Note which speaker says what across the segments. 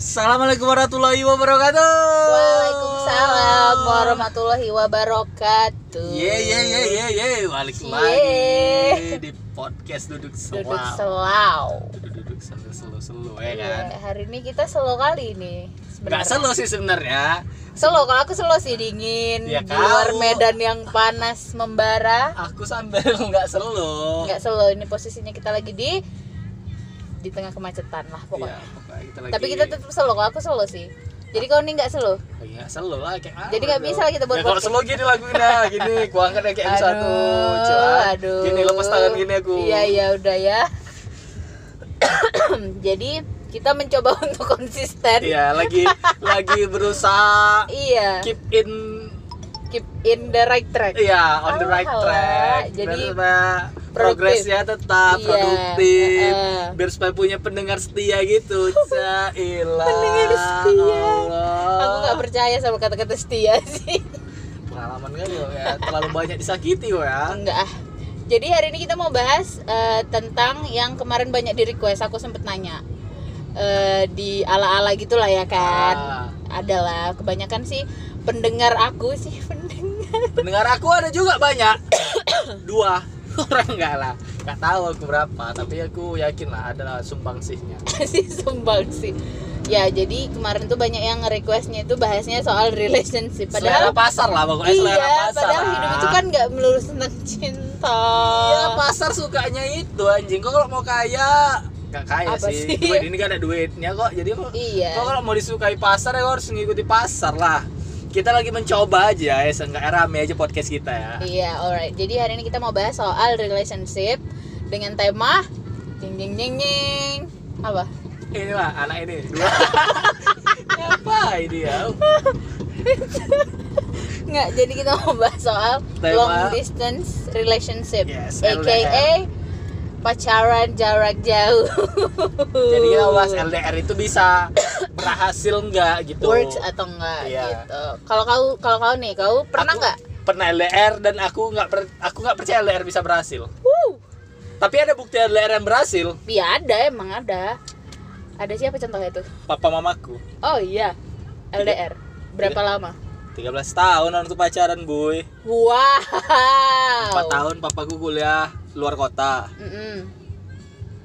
Speaker 1: Assalamualaikum warahmatullahi wabarakatuh.
Speaker 2: Waalaikumsalam warahmatullahi wabarakatuh.
Speaker 1: Ye ye ye ye ye balik
Speaker 2: Cie.
Speaker 1: lagi di podcast duduk selau.
Speaker 2: Duduk selau.
Speaker 1: Duduk duduk selu selu selu ya kan.
Speaker 2: Iya, hari ini kita selo kali nih.
Speaker 1: Gak selu sih sebenarnya.
Speaker 2: Selo kalau aku selo sih dingin
Speaker 1: Ya,
Speaker 2: di
Speaker 1: kau.
Speaker 2: luar Medan yang panas membara.
Speaker 1: Aku sambil nggak Iya, selu.
Speaker 2: Enggak selo ini posisinya kita lagi di di tengah kemacetan lah
Speaker 1: Iya,
Speaker 2: pokoknya.
Speaker 1: pokoknya kita lagi.
Speaker 2: Tapi kita tetap selo kalau aku selo sih. Jadi kau nih nggak selo?
Speaker 1: Iya, selu lah kayak mana
Speaker 2: Jadi nggak
Speaker 1: dong?
Speaker 2: bisa lah kita buat
Speaker 1: Ya, kalau
Speaker 2: podcast.
Speaker 1: selu gini laguin dah, gini. Gua angkat ya kayak M1. Cuman,
Speaker 2: aduh.
Speaker 1: Gini lepas tangan gini aku.
Speaker 2: Iya, iya udah ya. Jadi kita mencoba untuk konsisten.
Speaker 1: Iya, lagi lagi berusaha
Speaker 2: Iya. Keep,
Speaker 1: keep in
Speaker 2: in the right track.
Speaker 1: Iya, on the right
Speaker 2: Alah,
Speaker 1: track.
Speaker 2: Oh, jadi
Speaker 1: Biar supaya progresnya tetap
Speaker 2: Iya,
Speaker 1: produktif.
Speaker 2: heeh.
Speaker 1: Biar supaya punya pendengar setia gitu. Cailah.
Speaker 2: Pendengar setia.
Speaker 1: Allah.
Speaker 2: Aku nggak percaya sama kata-kata setia sih.
Speaker 1: Pengalaman kan lo ya, terlalu banyak disakiti lo ya.
Speaker 2: Enggak ah. Jadi hari ini kita mau bahas eh, tentang yang kemarin banyak di request. Aku sempet nanya Eh, di ala-ala gitulah ya kan.
Speaker 1: Ah,
Speaker 2: Adalah kebanyakan sih pendengar aku sih pendengar.
Speaker 1: pendengar aku ada juga banyak. Dua orang enggak lah. Enggak tahu aku berapa, tapi aku yakin lah adalah sumbangsihnya.
Speaker 2: sih sumbang sih ya jadi kemarin tuh banyak yang requestnya itu bahasnya soal relationship
Speaker 1: Selera
Speaker 2: padahal
Speaker 1: pasar lah pokoknya selera
Speaker 2: iya
Speaker 1: pasar.
Speaker 2: padahal
Speaker 1: lah.
Speaker 2: hidup itu kan nggak melulu tentang cinta
Speaker 1: Iya pasar sukanya itu anjing kok kalau mau kaya gak kaya
Speaker 2: Apa
Speaker 1: sih.
Speaker 2: sih?
Speaker 1: Duit ini gak ada duitnya kok. Jadi kok
Speaker 2: Iya.
Speaker 1: kok kalau mau disukai pasar ya kok harus ngikuti pasar lah. Kita lagi mencoba aja ya seenggaknya rame aja podcast kita ya.
Speaker 2: Iya, alright jadi hari ini kita mau bahas soal relationship dengan tema jeng jeng jeng jeng apa
Speaker 1: Ini lah anak ini. Dua. Ngapain dia?
Speaker 2: nggak jadi kita mau bahas soal
Speaker 1: Tema-
Speaker 2: long distance relationship
Speaker 1: Yes,
Speaker 2: aka pacaran jarak jauh
Speaker 1: Jadi ya, kita bahas LDR itu bisa berhasil nggak gitu.
Speaker 2: works atau enggak
Speaker 1: Iya.
Speaker 2: gitu. Kalau kau kalau kau nih, kau pernah
Speaker 1: Aku
Speaker 2: nggak?
Speaker 1: Pernah LDR dan aku nggak per- aku nggak percaya LDR bisa berhasil.
Speaker 2: Wuh,
Speaker 1: Tapi ada bukti LDR yang berhasil.
Speaker 2: ya ada emang ada. Ada siapa contohnya tuh?
Speaker 1: Papa mamaku.
Speaker 2: Oh iya, LDR. Berapa lama?
Speaker 1: 13 tahun orang tuh pacaran, Boy. 4
Speaker 2: Wow.
Speaker 1: tahun papaku kuliah luar kota.
Speaker 2: Mm-mm.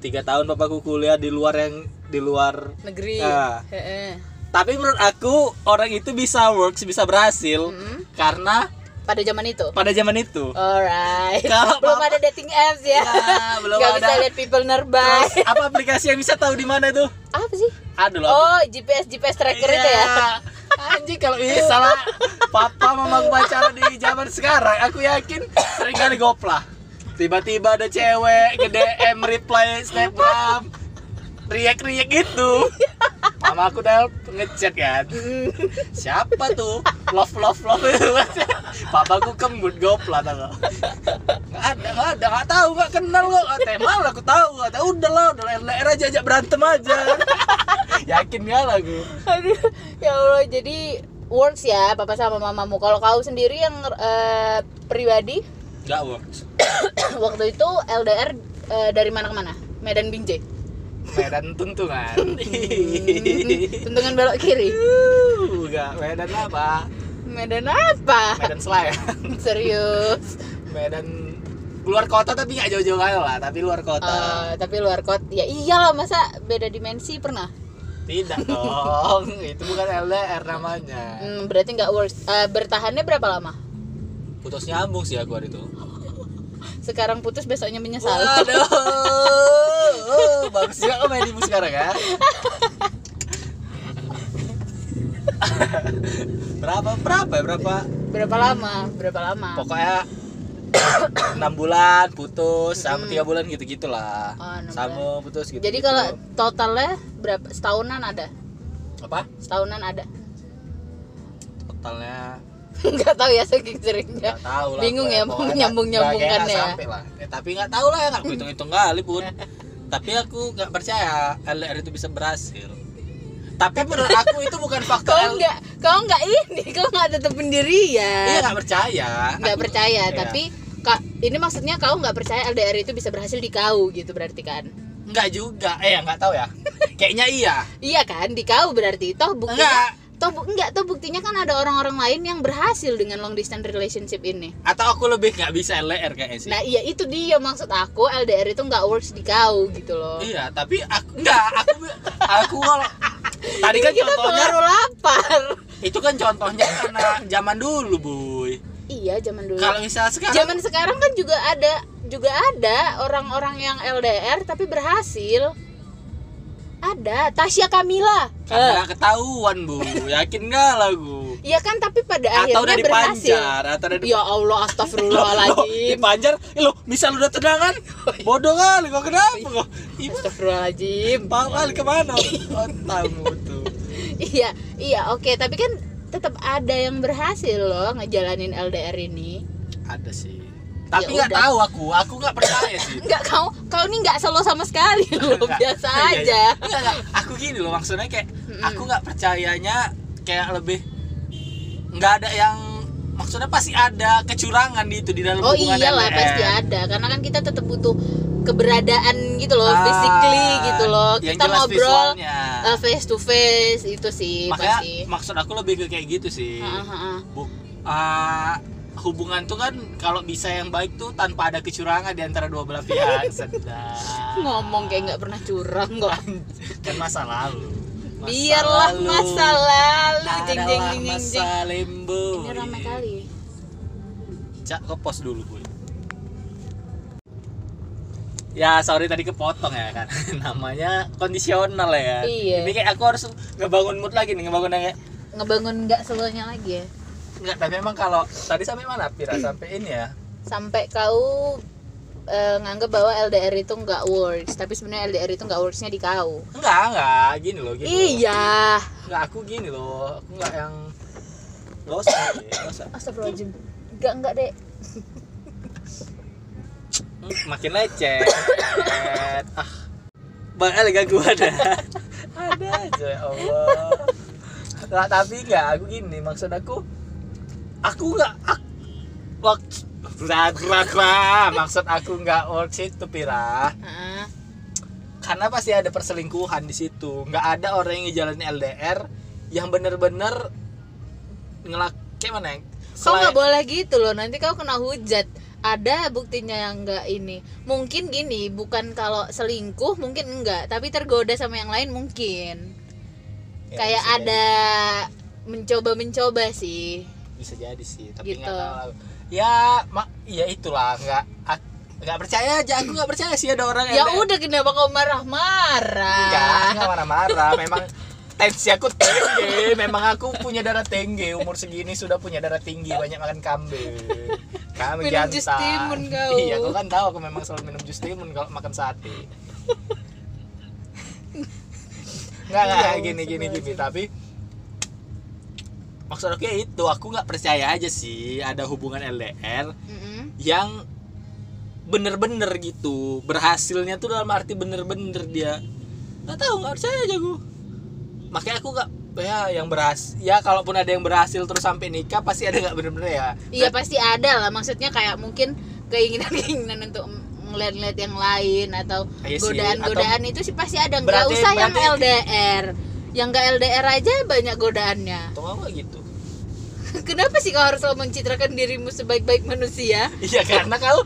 Speaker 1: 3 tahun papaku kuliah di luar yang di luar.
Speaker 2: Negeri.
Speaker 1: Ah.
Speaker 2: Heeh.
Speaker 1: Tapi menurut aku orang itu bisa works, bisa berhasil
Speaker 2: Mm-mm.
Speaker 1: karena
Speaker 2: Pada zaman itu.
Speaker 1: pada zaman itu.
Speaker 2: Alright.
Speaker 1: Kalau
Speaker 2: belum
Speaker 1: papa-
Speaker 2: ada dating apps ya.
Speaker 1: Ya, belum
Speaker 2: Nggak bisa
Speaker 1: ada.
Speaker 2: lihat people nearby.
Speaker 1: Terus, apa aplikasi yang bisa tahu di mana tuh?
Speaker 2: Apa sih?
Speaker 1: Aduh loh.
Speaker 2: Oh, GPS GPS tracker itu
Speaker 1: Iya.
Speaker 2: ya.
Speaker 1: Anjing kalau ini salah papa mama aku pacaran di zaman sekarang, aku yakin sering kali goplah. Tiba-tiba ada cewek ke DM reply snapgram riak-riak gitu. Mama aku udah ngechat kan.
Speaker 2: Mm.
Speaker 1: Siapa tuh? Love love love. Papaku kembut goplah tau gak? Nggak ada, nggak ada, nggak tahu, nggak kenal kok. Nggak tahu, malah aku tahu. Nggak tahu, udahlah, udah LDR aja ajak berantem aja. Yakin gak lah gue?
Speaker 2: Aduh, ya Allah. Jadi works ya papa sama mamamu. Kalau kau sendiri yang eh, pribadi
Speaker 1: Gak works.
Speaker 2: waktu itu LDR eh, dari mana ke mana? Medan Binjai.
Speaker 1: Medan tuntungan.
Speaker 2: Tuntungan belok kiri.
Speaker 1: Enggak, Medan apa?
Speaker 2: Medan apa?
Speaker 1: Medan Selayang.
Speaker 2: Serius.
Speaker 1: Medan luar kota tapi nggak jauh-jauh kali lah, tapi luar kota.
Speaker 2: Eh, tapi luar kota. Ya iyalah masa beda dimensi pernah.
Speaker 1: Tidak dong, itu bukan LDR namanya.
Speaker 2: Hmm, berarti nggak works. Eh, bertahannya berapa lama?
Speaker 1: Putus nyambung sih aku hari itu.
Speaker 2: Sekarang putus besoknya menyesal.
Speaker 1: Waduh. Oh, bagus juga komedimu sekarang ya. berapa berapa ya, berapa
Speaker 2: Berapa lama? Berapa lama?
Speaker 1: pokoknya enam bulan putus sama tiga bulan gitu gitulah
Speaker 2: Oh, enam
Speaker 1: sama putus gitu
Speaker 2: Jadi kalau totalnya berapa setahunan ada?
Speaker 1: apa
Speaker 2: Setahunan ada.
Speaker 1: totalnya
Speaker 2: nggak tahu ya saking seringnya
Speaker 1: nggak tahu lah
Speaker 2: bingung
Speaker 1: pokoknya.
Speaker 2: ya
Speaker 1: Pokoknya nggak-
Speaker 2: nyambung nyambungkan
Speaker 1: nggak
Speaker 2: ya
Speaker 1: sampai lah. Eh, tapi nggak tahu lah nggak hitung hitung kali pun tapi aku nggak percaya LDR itu bisa berhasil tapi menurut aku itu bukan faktor
Speaker 2: kau
Speaker 1: L-
Speaker 2: nggak kau nggak ini kau nggak tetap
Speaker 1: iya
Speaker 2: pendirian
Speaker 1: nggak percaya
Speaker 2: nggak
Speaker 1: Aku-
Speaker 2: percaya
Speaker 1: iya.
Speaker 2: tapi Kak, ini maksudnya kau nggak percaya LDR itu bisa berhasil di kau gitu berarti kan
Speaker 1: Enggak juga. Eh, enggak tahu ya. Kayaknya iya.
Speaker 2: Iya kan, di kau berarti
Speaker 1: Enggak.
Speaker 2: toh buktinya toh bu- enggak toh buktinya kan ada orang-orang lain yang berhasil dengan long distance relationship ini.
Speaker 1: Atau aku lebih nggak bisa LR kayaknya sih.
Speaker 2: Nah, iya itu dia maksud aku LDR itu enggak works di kau gitu loh.
Speaker 1: Iya, tapi aku enggak, aku aku kalau tadi kan
Speaker 2: Ini Iya, kita
Speaker 1: contohnya
Speaker 2: baru lapar.
Speaker 1: itu kan contohnya karena zaman dulu, Boy.
Speaker 2: Iya, zaman dulu.
Speaker 1: Kalau misalnya sekarang
Speaker 2: Zaman sekarang kan juga ada juga ada orang-orang yang LDR tapi berhasil. Ada Tasya Kamila.
Speaker 1: karena
Speaker 2: Eh.
Speaker 1: ketahuan, Bu. Yakin enggak lah, Bu?
Speaker 2: Iya kan tapi pada
Speaker 1: Atau udah
Speaker 2: akhirnya berhasil.
Speaker 1: dipanjar, atau udah di
Speaker 2: Ya Allah astagfirullahaladzim.
Speaker 1: dipanjar, eh, lo misal udah tendangan, bodoh kali kok kenapa kok? Ibu
Speaker 2: Astagfirullahaladzim.
Speaker 1: tahu kali kemana? Oh, tamu tuh.
Speaker 2: Iya, iya oke, tapi kan tetap ada yang berhasil loh ngejalanin LDR ini.
Speaker 1: Ada sih. Tapi
Speaker 2: Ya
Speaker 1: nggak
Speaker 2: udah.
Speaker 1: tahu aku, aku nggak percaya sih.
Speaker 2: Enggak kau kau ini enggak selo sama sekali loh,
Speaker 1: Enggak.
Speaker 2: biasa
Speaker 1: Iya, iya.
Speaker 2: aja.
Speaker 1: Enggak, enggak. aku gini loh maksudnya kayak aku nggak percayanya kayak lebih nggak ada yang maksudnya pasti ada kecurangan di itu di dalam
Speaker 2: Oh
Speaker 1: hubungan Eh,
Speaker 2: iyalah
Speaker 1: LDR.
Speaker 2: pasti ada karena kan kita tetap butuh keberadaan gitu loh,
Speaker 1: Ah,
Speaker 2: physically gitu loh.
Speaker 1: yang
Speaker 2: Kita
Speaker 1: jelas
Speaker 2: ngobrol
Speaker 1: visualnya.
Speaker 2: eh, face to face itu sih
Speaker 1: makanya
Speaker 2: pasti. ah,
Speaker 1: maksud aku lebih ke kayak gitu sih
Speaker 2: Ha, ha, ha.
Speaker 1: Bu- ah, hubungan tuh kan kalau bisa yang baik tuh tanpa ada kecurangan di antara dua belah pihak sedang
Speaker 2: Ngomong kayak nggak pernah curang kok.
Speaker 1: kan masa lalu Masa
Speaker 2: Biarlah
Speaker 1: lalu.
Speaker 2: masa lalu jeng jeng
Speaker 1: Adalah
Speaker 2: jeng jeng
Speaker 1: masa
Speaker 2: jeng.
Speaker 1: limbo
Speaker 2: Ini ramai kali.
Speaker 1: Iya. Cak, ke pos dulu, Boy. Ya, sorry tadi kepotong ya kan. Namanya kondisional ya.
Speaker 2: Iya.
Speaker 1: Ini kayak aku harus ngebangun mood lagi nih, ngebangun yang kayak
Speaker 2: Ngebangun nggak selonya lagi ya.
Speaker 1: enggak, tapi emang kalau tadi sampai mana Pira? Sampai ini ya.
Speaker 2: sampai kau eh, nganggep bahwa LDR itu nggak works tapi sebenarnya LDR itu nggak worksnya di kau
Speaker 1: Enggak, enggak, gini loh, gini. loh.
Speaker 2: iya
Speaker 1: Enggak, aku gini loh. Aku enggak yang Gak usah, Boy, nggak usah.
Speaker 2: astagfirullahaladzim nggak nggak dek
Speaker 1: Hmm, Makin lecet. ah. Bakal gangguan ada. ada aja ya Allah. Nggak, tapi enggak, aku gini, maksud aku aku enggak ak- waktu Ragrakra, maksud aku nggak works itu Pira
Speaker 2: ah
Speaker 1: Karena pasti ada perselingkuhan di situ nggak ada orang yang ngejalanin LDR Yang bener-bener ngelak Kayak mana ya?
Speaker 2: kau
Speaker 1: Selain-
Speaker 2: nggak boleh gitu loh nanti kau kena hujat ada buktinya yang nggak ini mungkin gini bukan kalau selingkuh mungkin enggak tapi tergoda sama yang lain mungkin
Speaker 1: Ya,
Speaker 2: kayak
Speaker 1: bisa
Speaker 2: ada mencoba mencoba sih
Speaker 1: jadi- Bisa jadi sih, tapi nggak
Speaker 2: Gitu.
Speaker 1: tahu aku. Ya, mak, ya itulah nggak ak- nggak percaya aja aku nggak percaya sih ada orang gitu.
Speaker 2: ya
Speaker 1: LDR.
Speaker 2: udah kenapa kau marah-marah
Speaker 1: Enggak, enggak marah-marah. Memang tensi aku tinggi. Memang aku punya darah tinggi. Umur segini sudah punya darah tinggi. Banyak makan kambing. Kambing
Speaker 2: Minum
Speaker 1: jantan.
Speaker 2: jus timun kau.
Speaker 1: Iya, kau kan tahu aku memang selalu minum jus timun kalau makan sate. Enggak, enggak
Speaker 2: Ya,
Speaker 1: gini gini
Speaker 2: sebenarnya.
Speaker 1: gini tapi maksud aku ya itu aku nggak percaya aja sih ada hubungan LDR
Speaker 2: Mm-mm.
Speaker 1: yang bener-bener gitu berhasilnya tuh dalam arti bener-bener dia nggak tahu nggak percaya aja gue makanya aku nggak ya yang berhasil ya kalaupun ada yang berhasil terus sampai nikah pasti ada nggak bener-bener ya
Speaker 2: Iya pasti ada lah maksudnya kayak mungkin keinginan-keinginan untuk ngeliat-ngeliat yang lain atau
Speaker 1: Iya sih,
Speaker 2: godaan-godaan itu sih pasti ada nggak
Speaker 1: Berarti-
Speaker 2: usah yang
Speaker 1: berarti-
Speaker 2: LDR yang nggak LDR aja banyak godaannya
Speaker 1: atau apa gitu
Speaker 2: kenapa sih kau harus selalu mencitrakan dirimu sebaik-baik manusia
Speaker 1: iya karena kau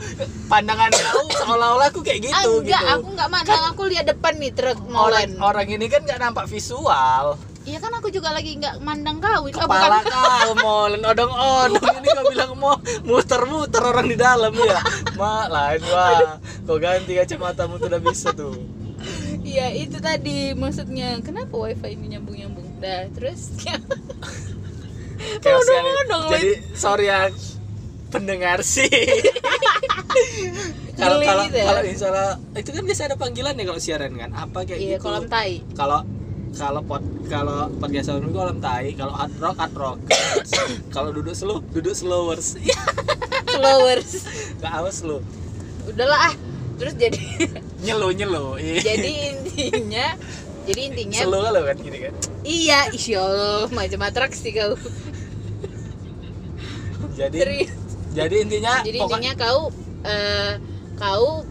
Speaker 1: pandangan kau seolah-olah aku kayak
Speaker 2: Ah,
Speaker 1: gitu
Speaker 2: enggak
Speaker 1: gitu
Speaker 2: aku nggak mandang aku lihat depan nih truk
Speaker 1: orang
Speaker 2: molen
Speaker 1: orang ini kan nggak nampak visual
Speaker 2: iya kan aku juga lagi nggak mandang kau Ah, bukan
Speaker 1: kepala kau molen odong odong ini kau bilang mau muter muter orang di dalam ya mak lain wah kau ganti kacamatamu tuh udah bisa tuh
Speaker 2: iya itu tadi maksudnya kenapa wifi ini nyambung nyambung dah terus
Speaker 1: Chaos sekali.
Speaker 2: Odong-odong lagi.
Speaker 1: jadi sorry ya pendengar sih kalau
Speaker 2: Geli
Speaker 1: kalau
Speaker 2: gitu ya.
Speaker 1: kalau misalnya itu kan biasa ada panggilan ya kalau siaran kan apa kayak
Speaker 2: iya
Speaker 1: gitu
Speaker 2: kolam tai
Speaker 1: kalau kalau pot kalau podcast sound itu kolam tai kalau hard rock hard rock kalau duduk slow duduk slowers
Speaker 2: followers
Speaker 1: nggak awas lu
Speaker 2: udahlah ah terus jadi
Speaker 1: nyelo nyelo iya.
Speaker 2: jadi intinya jadi intinya
Speaker 1: Slow lo kan gini kan.
Speaker 2: iya insya Allah macam atraksi kau
Speaker 1: Jadi
Speaker 2: serius
Speaker 1: jadi intinya
Speaker 2: jadi
Speaker 1: pokok-
Speaker 2: intinya kau eh, kau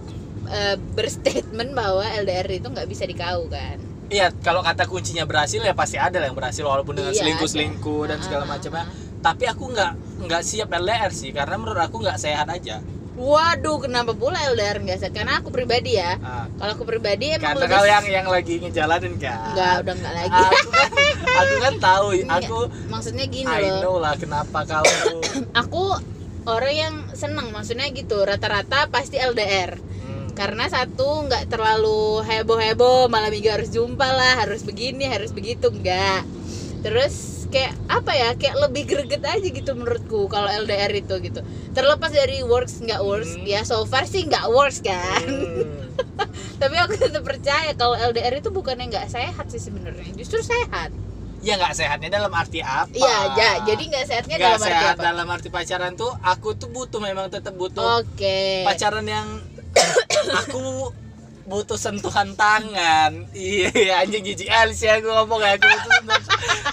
Speaker 2: eh, berstatement bahwa LDR itu nggak bisa dikau kan
Speaker 1: Iya, kalau kata kuncinya berhasil ya pasti ada lah yang berhasil walaupun dengan
Speaker 2: Iya,
Speaker 1: selingkuh-selingkuh dan
Speaker 2: ada.
Speaker 1: segala
Speaker 2: Ah,
Speaker 1: macamnya.
Speaker 2: ah,
Speaker 1: Tapi aku nggak nggak siap LDR sih karena menurut aku nggak sehat aja.
Speaker 2: waduh kenapa pula LDR nggak sih karena aku pribadi ya
Speaker 1: Ah,
Speaker 2: kalau aku pribadi emang
Speaker 1: karena
Speaker 2: lebih
Speaker 1: kau yang yang lagi ngejalanin kan.
Speaker 2: Iya, nggak udah nggak lagi
Speaker 1: Aku kan, aku kan tahu, aku
Speaker 2: maksudnya gini
Speaker 1: I
Speaker 2: loh
Speaker 1: know lah kenapa kau
Speaker 2: aku orang yang seneng maksudnya gitu rata-rata pasti LDR
Speaker 1: Hmm.
Speaker 2: karena satu nggak terlalu heboh heboh malam minggu harus jumpa lah harus begini harus begitu nggak terus kayak apa ya kayak lebih greget aja gitu menurutku kalau LDR itu gitu terlepas dari works nggak works
Speaker 1: Hmm.
Speaker 2: ya so far sih nggak works kan
Speaker 1: Hmm.
Speaker 2: tapi aku tetap percaya kalau LDR itu bukannya nggak sehat sih sebenarnya justru sehat
Speaker 1: Ya nggak sehatnya dalam arti apa?
Speaker 2: iya ya jadi nggak sehatnya
Speaker 1: Nggak
Speaker 2: dalam arti
Speaker 1: sehat
Speaker 2: apa Oh,
Speaker 1: dalam arti pacaran tuh aku tuh butuh memang tetap butuh
Speaker 2: oke
Speaker 1: pacaran yang aku butuh sentuhan tangan iya anjing jijik kali sih aku ngomong ya aku butuh sentuhan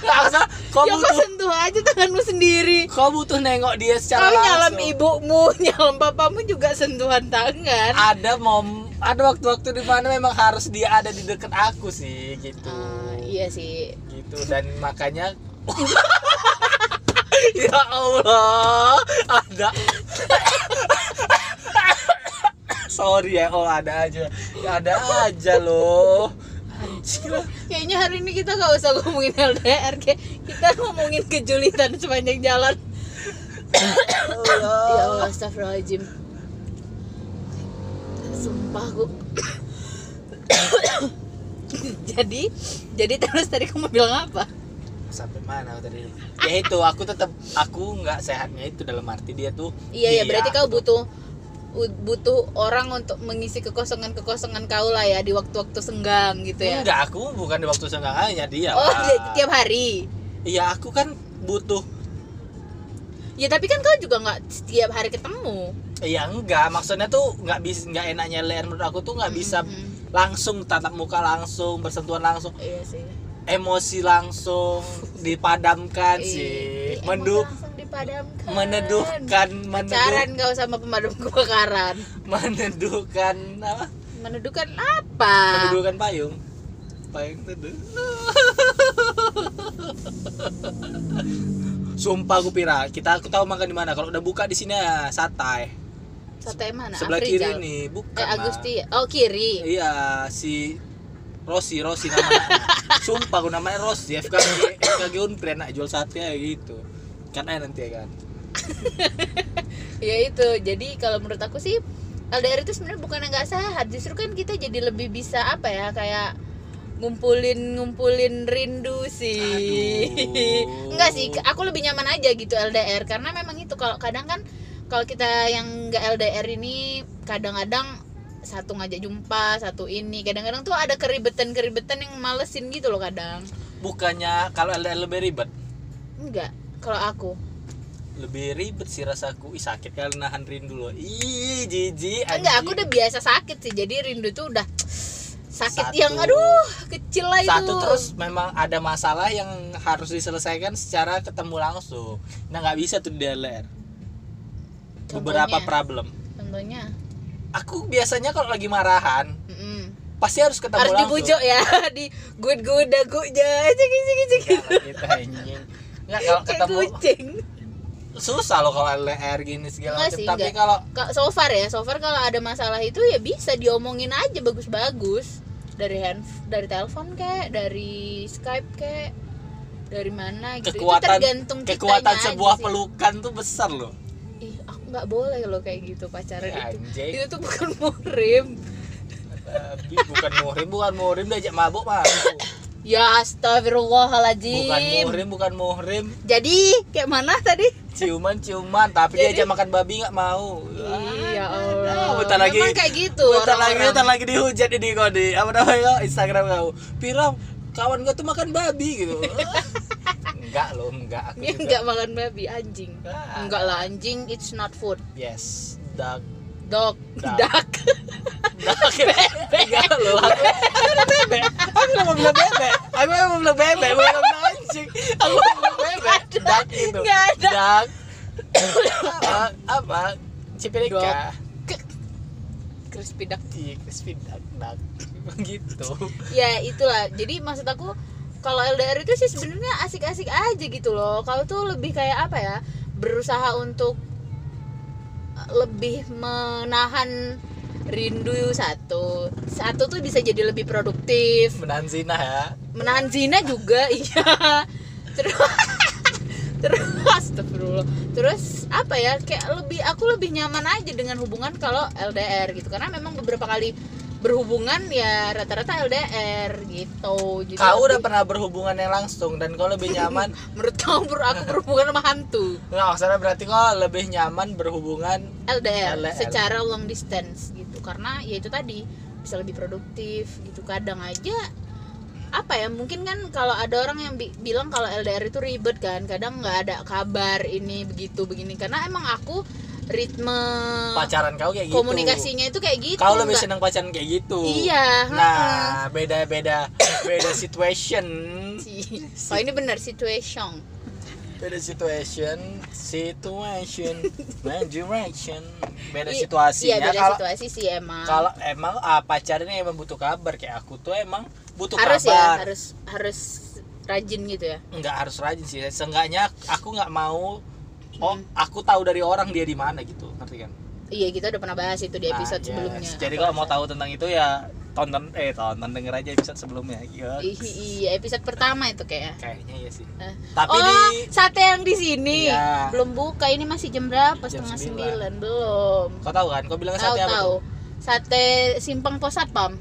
Speaker 1: Nah, aku salah. kau
Speaker 2: ya kok
Speaker 1: butuh
Speaker 2: sentuh aja tanganmu sendiri
Speaker 1: kau butuh nengok dia secara
Speaker 2: Kau nyalam
Speaker 1: langsung
Speaker 2: ibumu, nyalam papamu juga sentuhan tangan.
Speaker 1: ada mom ada waktu-waktu di mana memang harus dia ada di dekat aku sih gitu
Speaker 2: Ah, iya sih.
Speaker 1: gitu dan makanya ya Allah ada sorry ya oh ada aja Ya, ada aja loh anjing lah
Speaker 2: Kayaknya hari ini kita gak usah ngomongin LDR, kayak kita ngomongin kejulitan sepanjang jalan. Ya Allah, astagfirullahaladzim. Sumpah aku. jadi, jadi terus tadi kamu bilang apa?
Speaker 1: sampai mana tadi ya itu aku tetap aku nggak sehatnya itu dalam arti dia tuh
Speaker 2: Iya ya,
Speaker 1: dia-
Speaker 2: berarti kau butuh u- butuh orang untuk mengisi kekosongan-kekosongan kau lah ya di waktu-waktu senggang gitu ya.
Speaker 1: enggak aku bukan di waktu senggang aja dia
Speaker 2: Oh,
Speaker 1: lah.
Speaker 2: jadi tiap hari.
Speaker 1: iya aku kan butuh
Speaker 2: Ya tapi kan kau juga nggak setiap hari ketemu.
Speaker 1: Iya enggak, maksudnya tuh nggak bisa nggak enaknya LDR menurut aku tuh nggak bisa
Speaker 2: Mm-mm.
Speaker 1: langsung tatap muka langsung bersentuhan langsung
Speaker 2: Iya sih.
Speaker 1: emosi langsung dipadamkan
Speaker 2: Ih,
Speaker 1: sih
Speaker 2: Iya. emang
Speaker 1: menduh
Speaker 2: langsung dipadamkan.
Speaker 1: meneduhkan meneduh,
Speaker 2: Pacaran kau sama pemadam kebakaran.
Speaker 1: meneduhkan apa
Speaker 2: Meneduhkan apa?
Speaker 1: meneduhkan payung payung teduh sumpah aku pira kita aku tahu makan di mana kalau udah buka di sini ya, satai
Speaker 2: Sate mana?
Speaker 1: sebelah kiri
Speaker 2: Afrizal?
Speaker 1: nih bukan
Speaker 2: Eh,
Speaker 1: Ma.
Speaker 2: Agusti. Oh, kiri.
Speaker 1: Iya, si Rosi, Rosi namanya. Sumpah aku namanya Rosi, FKG, FKG Unpri anak jual sate ya gitu. Kan aja nanti ya kan.
Speaker 2: Ya itu. Jadi kalau menurut aku sih LDR itu sebenarnya bukan nggak sehat, justru kan kita jadi lebih bisa apa ya kayak ngumpulin ngumpulin rindu sih.
Speaker 1: Aduh.
Speaker 2: Enggak sih, aku lebih nyaman aja gitu LDR karena memang itu kalau kadang kan kalau kita yang nggak LDR ini kadang-kadang satu ngajak jumpa, satu ini. Kadang-kadang tuh ada keribetan-keribetan yang malesin gitu loh kadang.
Speaker 1: Bukannya kalau LDR lebih ribet,
Speaker 2: Enggak, kalau aku.
Speaker 1: lebih ribet sih rasaku. Ih sakit kali nahan rindu loh. Ih, jijik. anjing.
Speaker 2: Enggak, aku udah biasa sakit sih. Jadi rindu tuh udah sakit
Speaker 1: Satu.
Speaker 2: yang aduh, kecil lah itu.
Speaker 1: satu terus memang ada masalah yang harus diselesaikan secara ketemu langsung. Nah, nggak bisa tuh di LDR. Beberapa
Speaker 2: Contohnya?
Speaker 1: problem.
Speaker 2: Contohnya.
Speaker 1: Aku biasanya kalau lagi marahan
Speaker 2: mm-mm.
Speaker 1: pasti harus ketemu
Speaker 2: Harus
Speaker 1: langsung.
Speaker 2: dibujuk ya, di good good dagunya. Cek cek cek.
Speaker 1: Kalau kita gitu, anjing. Nggak, kalau
Speaker 2: Kayak
Speaker 1: ketemu
Speaker 2: kucing.
Speaker 1: susah loh kalau LDR gini segala
Speaker 2: Enggak
Speaker 1: macam
Speaker 2: sih,
Speaker 1: tapi
Speaker 2: enggak.
Speaker 1: kalau
Speaker 2: Ka- So far ya, so far kalau ada masalah itu ya bisa diomongin aja bagus-bagus dari hand dari telepon kayak dari Skype kayak dari mana gitu. itu
Speaker 1: kekuatan
Speaker 2: tergantung
Speaker 1: kekuatan
Speaker 2: kitanya aja
Speaker 1: sebuah
Speaker 2: sih.
Speaker 1: pelukan tuh besar loh
Speaker 2: Ih, aku nggak boleh loh kayak gitu pacaran
Speaker 1: Ya,
Speaker 2: itu.
Speaker 1: anjing.
Speaker 2: Itu tuh bukan murim.
Speaker 1: Tapi bukan muhrim bukan muhrim diajak mabuk mabuk
Speaker 2: Ya
Speaker 1: bukan
Speaker 2: astagfirullahaladzim
Speaker 1: muhrim bukan muhrim
Speaker 2: Jadi kayak mana tadi?
Speaker 1: ciuman ciuman tapi
Speaker 2: Jadi-
Speaker 1: diajak makan babi nggak mau
Speaker 2: Iya
Speaker 1: Ah,
Speaker 2: Allah
Speaker 1: bentar lagi
Speaker 2: Memang kayak gitu
Speaker 1: bentar lagi
Speaker 2: orang-orang.
Speaker 1: bentar lagi dihujat ini kau di apa namanya Instagram kau Piram kawan gua tuh makan babi gitu enggak loh enggak aku
Speaker 2: Dia
Speaker 1: juga.
Speaker 2: nggak makan babi anjing
Speaker 1: Ah.
Speaker 2: Enggak lah anjing it's not food
Speaker 1: yes dark
Speaker 2: Dog
Speaker 1: Dak.
Speaker 2: Dak
Speaker 1: Enggak loh, aku kan bebek. Aku nggak mau bilang bebek. Aku nggak mau bilang bebek, mau bilang anjing. Aku mau bilang bebek. Dak gitu.
Speaker 2: Nggak ada.
Speaker 1: Dak. Apa? Apa? Cipilika.
Speaker 2: Dok. Ke- crispy duck
Speaker 1: Iya, speed duck, duck. gitu.
Speaker 2: ya itulah jadi maksud aku kalau LDR itu sih sebenarnya asik-asik aja gitu loh kalau tuh lebih kayak apa ya berusaha untuk eh, lebih menahan rindu satu satu tuh bisa jadi lebih produktif
Speaker 1: Menahan zina ya.
Speaker 2: menahan zina juga iya terus terus astagfirullah. terus apa ya kayak lebih aku lebih nyaman aja dengan hubungan kalau LDR gitu karena memang beberapa kali berhubungan ya rata-rata LDR gitu Jadi
Speaker 1: Kau udah
Speaker 2: lebih-
Speaker 1: pernah berhubungan yang langsung dan kau lebih nyaman.
Speaker 2: menurut kamu ber- aku berhubungan sama hantu
Speaker 1: Nah, maksudnya berarti kau lebih nyaman berhubungan
Speaker 2: LDR,
Speaker 1: LDR.
Speaker 2: secara long distance gitu karena ya itu tadi bisa lebih produktif gitu kadang aja apa ya mungkin kan kalau ada orang yang bi- bilang kalau LDR itu ribet kan kadang nggak ada kabar ini begitu begini karena emang aku ritme
Speaker 1: pacaran kau kayak gitu.
Speaker 2: komunikasinya itu kayak Ah, gitu
Speaker 1: Kau lebih
Speaker 2: nggak-
Speaker 1: senang pacaran kayak gitu.
Speaker 2: iya heeh.
Speaker 1: Nah, beda-beda beda situation.
Speaker 2: Si- oh ini benar situation
Speaker 1: Beda situation, situation, beda direction. Beda
Speaker 2: I-
Speaker 1: situasinya.
Speaker 2: iya beda
Speaker 1: kalau
Speaker 2: situasi sih emang
Speaker 1: kalau emang ah, pacarnya emang butuh kabar kayak aku tuh emang butuh
Speaker 2: harus ya
Speaker 1: kabar.
Speaker 2: harus harus rajin gitu ya
Speaker 1: nggak harus rajin sih seenggaknya aku nggak mau
Speaker 2: Hmm.
Speaker 1: oh aku tahu dari orang dia di mana gitu ngerti kan
Speaker 2: Iya kita udah pernah bahas itu di
Speaker 1: Nah,
Speaker 2: episode
Speaker 1: yes.
Speaker 2: sebelumnya.
Speaker 1: jadi
Speaker 2: Aku
Speaker 1: kalau mau
Speaker 2: rasa.
Speaker 1: tahu tentang itu ya tonton eh tonton denger aja episode sebelumnya Iya.
Speaker 2: I- i- Iya episode pertama itu kayaknya.
Speaker 1: kayaknya ya sih
Speaker 2: Eh.
Speaker 1: tapi
Speaker 2: oh
Speaker 1: di
Speaker 2: sate yang di sini
Speaker 1: Iya.
Speaker 2: belum buka ini masih jam berapa
Speaker 1: Jam
Speaker 2: setengah sembilan
Speaker 1: sembilan.
Speaker 2: belum.
Speaker 1: kau tahu kan kau bilang
Speaker 2: Tahu
Speaker 1: sate apa
Speaker 2: tahu
Speaker 1: tuh
Speaker 2: sate simpang pos satpam.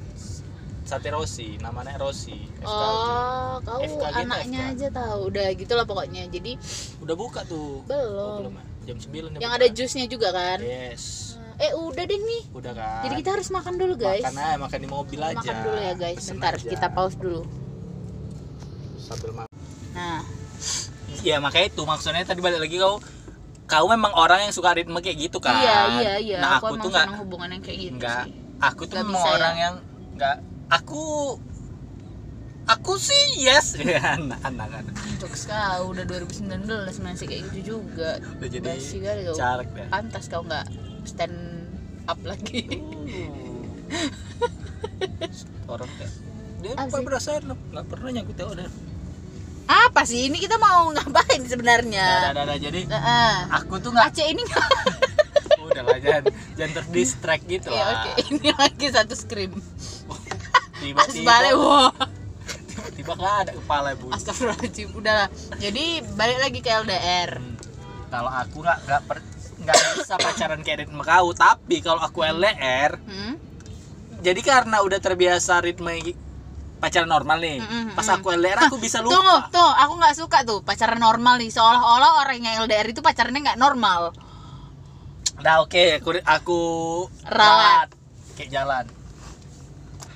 Speaker 1: sate Rosi namanya Rosi FKG.
Speaker 2: Oh kau
Speaker 1: FKG itu
Speaker 2: anaknya
Speaker 1: FKG.
Speaker 2: aja tahu udah gitulah pokoknya jadi
Speaker 1: udah buka tuh
Speaker 2: Belum.
Speaker 1: Oh, belum ya? jam 9 udah
Speaker 2: yang
Speaker 1: buka.
Speaker 2: ada jusnya juga kan.
Speaker 1: yes
Speaker 2: Eh udah deh nih.
Speaker 1: udah kan
Speaker 2: Jadi kita harus makan dulu guys.
Speaker 1: Iya. makan aja makan di mobil aja
Speaker 2: Makan dulu ya guys.
Speaker 1: Pesen
Speaker 2: Bentar
Speaker 1: aja.
Speaker 2: kita pause dulu.
Speaker 1: sambil makan
Speaker 2: Nah
Speaker 1: Ya makanya itu maksudnya tadi balik lagi kau kau memang orang yang suka ritme kayak gitu kan.
Speaker 2: iya iya iya.
Speaker 1: Nah aku,
Speaker 2: emang
Speaker 1: tuh nggak
Speaker 2: senang hubungan yang kayak gitu
Speaker 1: nggak
Speaker 2: sih.
Speaker 1: aku tuh
Speaker 2: Nggak
Speaker 1: memang
Speaker 2: bisa ya.
Speaker 1: orang yang nggak aku aku sih yes Ya, anak anak anak.
Speaker 2: Untuk kau udah 2019 masih kayak gitu juga.
Speaker 1: udah jadi
Speaker 2: Basi kali kau.
Speaker 1: caleg dah.
Speaker 2: Pantas kau nggak stand up lagi.
Speaker 1: orang kayak dia
Speaker 2: Apa
Speaker 1: apa
Speaker 2: sih?
Speaker 1: berasa enak nggak pernah nyangkut ya udah.
Speaker 2: Apa sih ini kita mau ngapain
Speaker 1: Nah,
Speaker 2: sebenarnya?
Speaker 1: nah, nah, jadi
Speaker 2: Heeh.
Speaker 1: aku tuh nggak
Speaker 2: Aceh ini nggak.
Speaker 1: udah lah jangan jangan terdistract gitu
Speaker 2: Ya oke,
Speaker 1: lah.
Speaker 2: ini lagi satu scream. Asbale,
Speaker 1: Tiba-tiba
Speaker 2: wah.
Speaker 1: tiba-tiba nggak ada kepala bu.
Speaker 2: Astagfirullahaladzim, udahlah. Jadi balik lagi ke LDR.
Speaker 1: Hmm. kalau aku nggak nggak per- nggak bisa pacaran kayak ritme kau tapi kalau aku LDR
Speaker 2: Hmm?
Speaker 1: jadi karena udah terbiasa ritme gi- pacaran normal nih
Speaker 2: Mm-mm,
Speaker 1: pas
Speaker 2: mm-mm.
Speaker 1: aku LDR aku bisa
Speaker 2: Tunggu,
Speaker 1: lupa
Speaker 2: tuh, aku nggak suka tuh pacaran normal nih. Seolah-olah orang yang LDR itu pacarannya nggak normal.
Speaker 1: nah oke aku aku
Speaker 2: Ralat.
Speaker 1: kayak jalan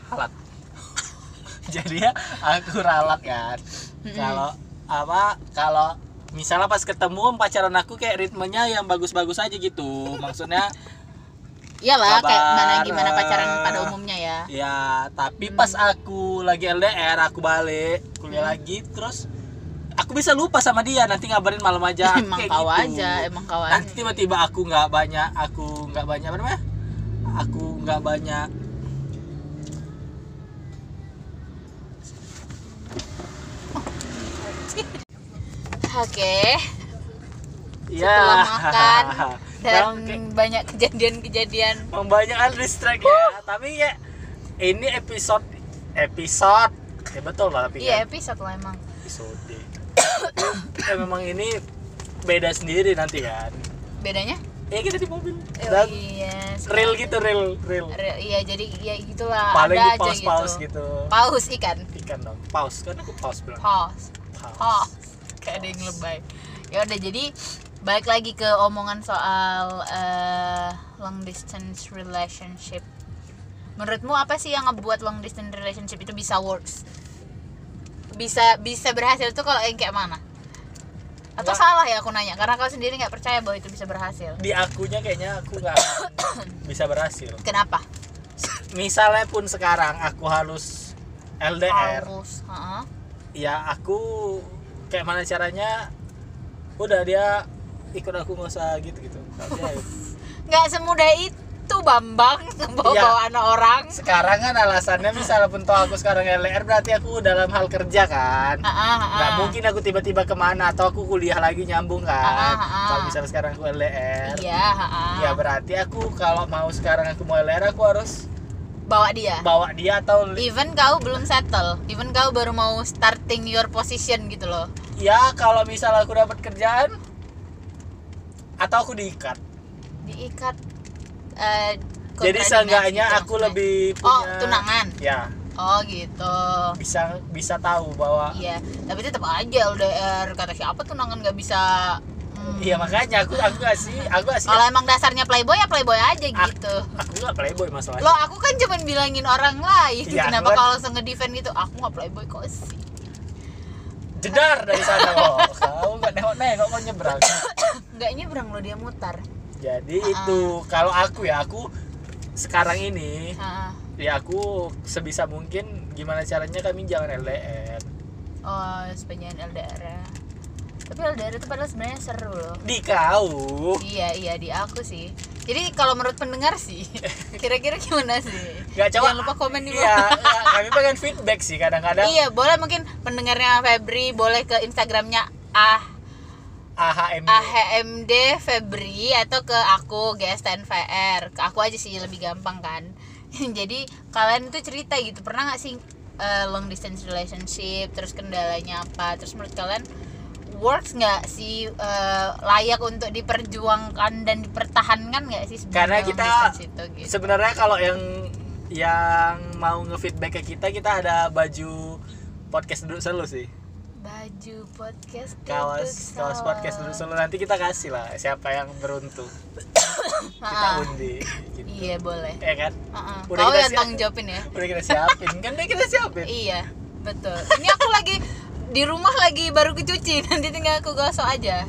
Speaker 1: halat jadi ya aku ralat kan
Speaker 2: Mm-mm.
Speaker 1: kalau apa kalau misalnya pas ketemu pacaran aku kayak ritmenya yang bagus-bagus aja gitu maksudnya
Speaker 2: Iyalah, Iya kayak
Speaker 1: Sabar,
Speaker 2: mana gimana pacaran
Speaker 1: eh.
Speaker 2: pada umumnya ya.
Speaker 1: Ya, tapi pas aku lagi LDR, aku balik kuliah lagi, terus aku bisa lupa sama dia. Nanti ngabarin malam aja. aku
Speaker 2: emang
Speaker 1: kayak
Speaker 2: kau
Speaker 1: gitu.
Speaker 2: aja, emang kau aja.
Speaker 1: Nanti tiba-tiba aku nggak banyak, aku nggak banyak apa namanya? Aku nggak banyak.
Speaker 2: Oke,
Speaker 1: Ya.
Speaker 2: setelah makan dan
Speaker 1: Memang kayak-
Speaker 2: banyak kejadian-kejadian.
Speaker 1: memang banyak distract ya. Tapi ya ini episode episode ya betul lah tapi
Speaker 2: Iya
Speaker 1: kan?
Speaker 2: episode lah emang.
Speaker 1: episode. ya, memang ini beda sendiri nanti kan.
Speaker 2: Bedanya?
Speaker 1: Ya kita di mobil.
Speaker 2: Eh,
Speaker 1: Dan
Speaker 2: iya.
Speaker 1: real gitu real real
Speaker 2: Real, iya jadi ya gitulah.
Speaker 1: paling di
Speaker 2: ada aja
Speaker 1: pause
Speaker 2: gitu.
Speaker 1: pause gitu,
Speaker 2: Paus ikan.
Speaker 1: ikan dong pause kan aku pause bilang
Speaker 2: Pause.
Speaker 1: pause
Speaker 2: Pause. Oh, Kayak ada yang lebay. Ya udah jadi balik lagi ke omongan soal eh, long distance relationship. Menurutmu apa sih yang ngebuat long distance relationship itu bisa works? Bisa bisa berhasil tuh kalau yang kayak mana?
Speaker 1: Nggak.
Speaker 2: Atau salah ya aku nanya karena kau sendiri nggak percaya bahwa itu bisa berhasil.
Speaker 1: di akunya kayaknya aku nggak bisa berhasil
Speaker 2: Kenapa?
Speaker 1: misalnya pun sekarang aku harus LDR
Speaker 2: Harus, heeh.
Speaker 1: ya aku kayak mana caranya udah dia ikut aku nggak usah gitu gitu Nggak dia-
Speaker 2: nggak semudah itu tuh Bambang
Speaker 1: Iya.
Speaker 2: bawa bawa anak orang.
Speaker 1: sekarang kan alasannya misalnya pun tau aku sekarang LDR berarti aku dalam hal kerja kan
Speaker 2: Ah, ah, ah.
Speaker 1: nggak mungkin aku tiba-tiba kemana atau aku kuliah lagi nyambung
Speaker 2: Ah, ah,
Speaker 1: kan
Speaker 2: ah.
Speaker 1: kalau misalnya sekarang aku LDR
Speaker 2: Iya, ah, ah.
Speaker 1: ya berarti aku kalau mau sekarang aku mau LDR aku harus
Speaker 2: bawa dia.
Speaker 1: bawa dia atau
Speaker 2: Even kau belum settle, even kau baru mau starting your position gitu loh.
Speaker 1: ya kalau misalnya aku dapat kerjaan atau aku diikat
Speaker 2: Diikat eh,
Speaker 1: jadi
Speaker 2: kontrak
Speaker 1: seenggaknya
Speaker 2: dinas
Speaker 1: aku
Speaker 2: gitu maksudnya.
Speaker 1: lebih punya
Speaker 2: Oh, tunangan.
Speaker 1: ya
Speaker 2: Oh, gitu.
Speaker 1: bisa bisa tahu bahwa
Speaker 2: Iya, tapi tetap aja LDR kata siapa tunangan nggak bisa hmm.
Speaker 1: iya makanya aku aku gak sih aku gak sih
Speaker 2: Kalau emang dasarnya playboy ya playboy aja
Speaker 1: Ah.
Speaker 2: gitu.
Speaker 1: aku gak playboy masalahnya
Speaker 2: Loh, aku kan cuman bilangin orang lain.
Speaker 1: Iya, aku
Speaker 2: Kenapa
Speaker 1: kan-
Speaker 2: kalau langsung nge-defend gitu? Aku nggak playboy kok sih.
Speaker 1: jedar dari sana kok kau gak nengok nengok kau nyebrang
Speaker 2: Nggak nyebrang lo dia mutar.
Speaker 1: jadi
Speaker 2: Ah.
Speaker 1: itu kalau aku ya aku sekarang ini
Speaker 2: Ah.
Speaker 1: ya aku sebisa mungkin gimana caranya kami jangan LDR
Speaker 2: Oh, sepanjang LDR ya. Tapi LDR itu padahal sebenarnya seru loh.
Speaker 1: di kau
Speaker 2: Iya, iya di aku sih. Jadi kalau menurut pendengar sih, kira-kira gimana sih?
Speaker 1: Gak coba
Speaker 2: Iya. Jangan lupa komen di
Speaker 1: Iya,
Speaker 2: bawah.
Speaker 1: iya, kami pengen feedback sih kadang-kadang.
Speaker 2: Iya, boleh mungkin pendengarnya Febri boleh ke Instagramnya ah
Speaker 1: AHM.
Speaker 2: AHMD Febri atau ke aku GSTNVR ke aku aja sih lebih gampang kan jadi kalian tuh cerita gitu pernah nggak sih eh, long distance relationship terus kendalanya apa terus menurut kalian works nggak sih eh, layak untuk diperjuangkan dan dipertahankan nggak sih sebenarnya
Speaker 1: Karena
Speaker 2: long
Speaker 1: kita
Speaker 2: distance itu gitu
Speaker 1: Sebenarnya kalau yang yang mau ngefeedback ke kita, kita ada baju podcast duduk selu sih.
Speaker 2: baju podcast duduk
Speaker 1: Kaos kaos
Speaker 2: solo.
Speaker 1: podcast duduk selu nanti kita kasih lah siapa yang beruntung. Kita
Speaker 2: Ha-ha.
Speaker 1: undi gitu.
Speaker 2: iya boleh
Speaker 1: Ya kan?
Speaker 2: Ha-ha.
Speaker 1: Udah
Speaker 2: kau
Speaker 1: kita
Speaker 2: yang
Speaker 1: siap-
Speaker 2: tanggung jawabin ya
Speaker 1: Udah kita siapin. kan udah kita siapin.
Speaker 2: Iya, betul. Ini aku lagi di rumah lagi baru kecuci, nanti tinggal aku gosok aja.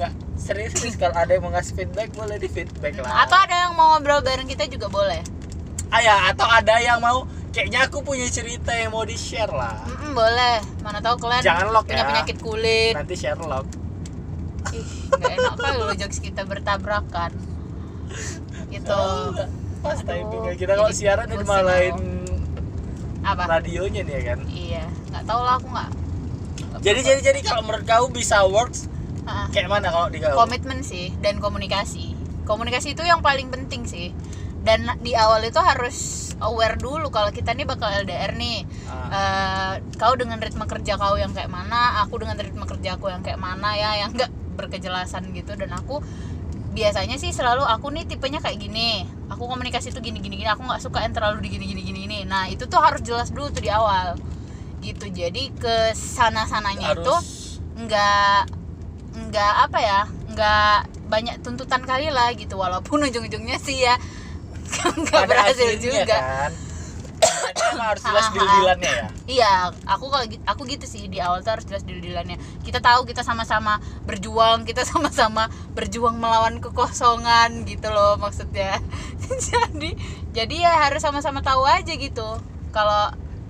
Speaker 1: Nggak, serius serius, kalau ada yang mau ngasih feedback boleh di feedback lah.
Speaker 2: Atau ada yang mau ngobrol bareng kita juga boleh.
Speaker 1: Ah, ya, atau ada yang mau kayaknya aku punya cerita yang mau di-share lah.
Speaker 2: Mm-mm, boleh. Mana tahu kalian
Speaker 1: Jangan lock ya.
Speaker 2: punya penyakit kulit.
Speaker 1: Nanti Sherlock.
Speaker 2: Ih, nggak enak kali lo jokes kita bertabrakan. Gitu.
Speaker 1: Pas timingnya kita
Speaker 2: jadi
Speaker 1: gitu. kalau siaran udah
Speaker 2: bosen
Speaker 1: malahin
Speaker 2: Apa?
Speaker 1: radionya nih ya kan.
Speaker 2: Iya, nggak tahu lah aku nggak.
Speaker 1: Jadi jadi jadi kalau menurut kau bisa works
Speaker 2: Ha-ha.
Speaker 1: kayak mana kalau di kau?
Speaker 2: komitmen sih dan komunikasi komunikasi itu yang paling penting sih dan di awal itu harus aware dulu kalau kita nih bakal LDR nih
Speaker 1: Ah,
Speaker 2: Eh, kau dengan ritme kerja kau yang kayak mana aku dengan ritme kerja aku yang kayak mana ya yang enggak berkejelasan gitu dan aku biasanya sih selalu aku nih tipenya kayak gini aku komunikasi tuh gini gini gini aku nggak suka yang terlalu di gini gini gini ini nah itu tuh harus jelas dulu tuh di awal gitu jadi ke sana sananya
Speaker 1: Harus
Speaker 2: itu nggak nggak apa ya nggak banyak tuntutan kali lah gitu walaupun ujung-ujungnya sih ya nggak
Speaker 1: ada
Speaker 2: berhasil
Speaker 1: hasilnya,
Speaker 2: juga
Speaker 1: kan. Ada emang harus jelas
Speaker 2: Ha-ha.
Speaker 1: deal-dealannya ya.
Speaker 2: Iya, aku kalau gi- aku gitu sih di awal tuh harus jelas deal-dealannya. Kita tahu kita sama-sama berjuang, kita sama-sama berjuang melawan kekosongan gitu loh maksudnya. jadi jadi ya harus sama-sama tahu aja gitu. Kalau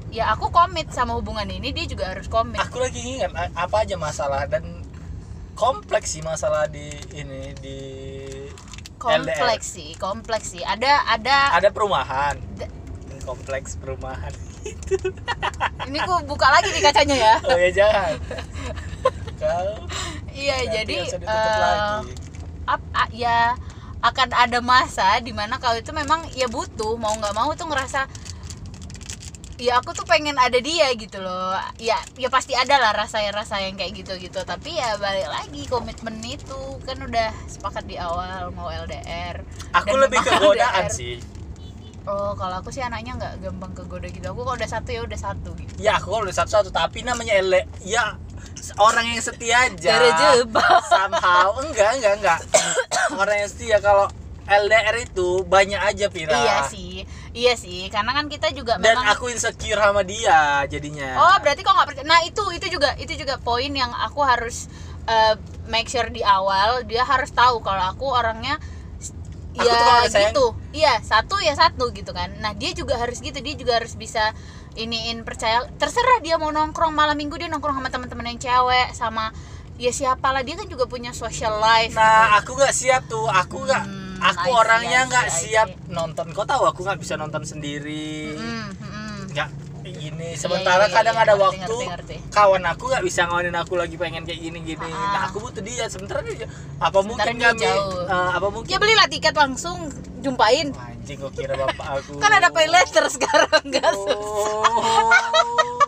Speaker 2: ya aku komit sama hubungan ini, dia juga harus komit.
Speaker 1: Aku lagi ingat a- apa aja masalah dan kompleks sih masalah di ini di LDR.
Speaker 2: Kompleks sih, kompleks sih. Ada ada
Speaker 1: Ada perumahan.
Speaker 2: Ah. Da-
Speaker 1: Kompleks perumahan. Ah.
Speaker 2: ini aku buka lagi di kacanya ya.
Speaker 1: Oh ya jangan. kau
Speaker 2: Iya,
Speaker 1: nanti
Speaker 2: jadi
Speaker 1: harus ditutup
Speaker 2: eh,
Speaker 1: lagi.
Speaker 2: ap, a- ya akan ada masa dimana kau itu memang ya butuh mau nggak mau tuh ngerasa ya aku tuh pengen ada dia gitu loh ya ya pasti ada lah rasa rasa yang kayak gitu gitu tapi ya balik lagi komitmen itu kan udah sepakat di awal mau LDR
Speaker 1: Aku
Speaker 2: Dan
Speaker 1: lebih ke
Speaker 2: memang
Speaker 1: godaan
Speaker 2: LDR.
Speaker 1: sih.
Speaker 2: oh kalau aku sih anaknya nggak gampang kegoda gitu aku kalau udah satu ya udah satu gitu
Speaker 1: Ya aku kalau udah satu-satu tapi namanya ele ya orang yang setia aja.
Speaker 2: Cara jebak.
Speaker 1: Somehow enggak enggak enggak. orang yang setia kalau LDR itu banyak aja Pira.
Speaker 2: iya sih iya sih karena kan kita juga
Speaker 1: Dan
Speaker 2: memang
Speaker 1: aku insecure sama dia jadinya.
Speaker 2: Oh, berarti kok nggak percaya. Nah, itu itu juga itu juga poin yang aku harus eh, make sure di awal dia harus tahu kalau aku orangnya s-
Speaker 1: Aku tuh kalau udah sayang-
Speaker 2: gitu. Iya, satu ya satu gitu kan. Nah, dia juga harus gitu, dia juga harus bisa iniin percaya terserah dia mau nongkrong malam minggu dia nongkrong sama teman-teman yang cewek sama ya siapalah dia kan juga punya social life.
Speaker 1: Nah, aku nggak siap tuh. Aku nggak
Speaker 2: Hmm,
Speaker 3: I
Speaker 1: aku
Speaker 3: see,
Speaker 1: orangnya
Speaker 3: I see, I
Speaker 1: nggak
Speaker 3: see.
Speaker 1: siap nonton kau tahu aku nggak bisa nonton sendiri
Speaker 2: Mm, mm.
Speaker 1: nggak ini sementara
Speaker 2: iya,
Speaker 1: kadang
Speaker 2: iya,
Speaker 1: ada
Speaker 2: ngerti,
Speaker 1: waktu
Speaker 2: ngerti, ngerti.
Speaker 1: kawan aku nggak bisa ngawanin aku lagi pengen kayak gini gini
Speaker 3: Ah.
Speaker 1: nah aku butuh dia sementara dia apa mungkin
Speaker 2: dia
Speaker 1: kami
Speaker 2: jauh.
Speaker 1: eh, apa mungkin
Speaker 2: Ya belilah tiket langsung jumpain.
Speaker 1: anjing kok kira bapak aku
Speaker 2: Kan ada pay later sekarang enggak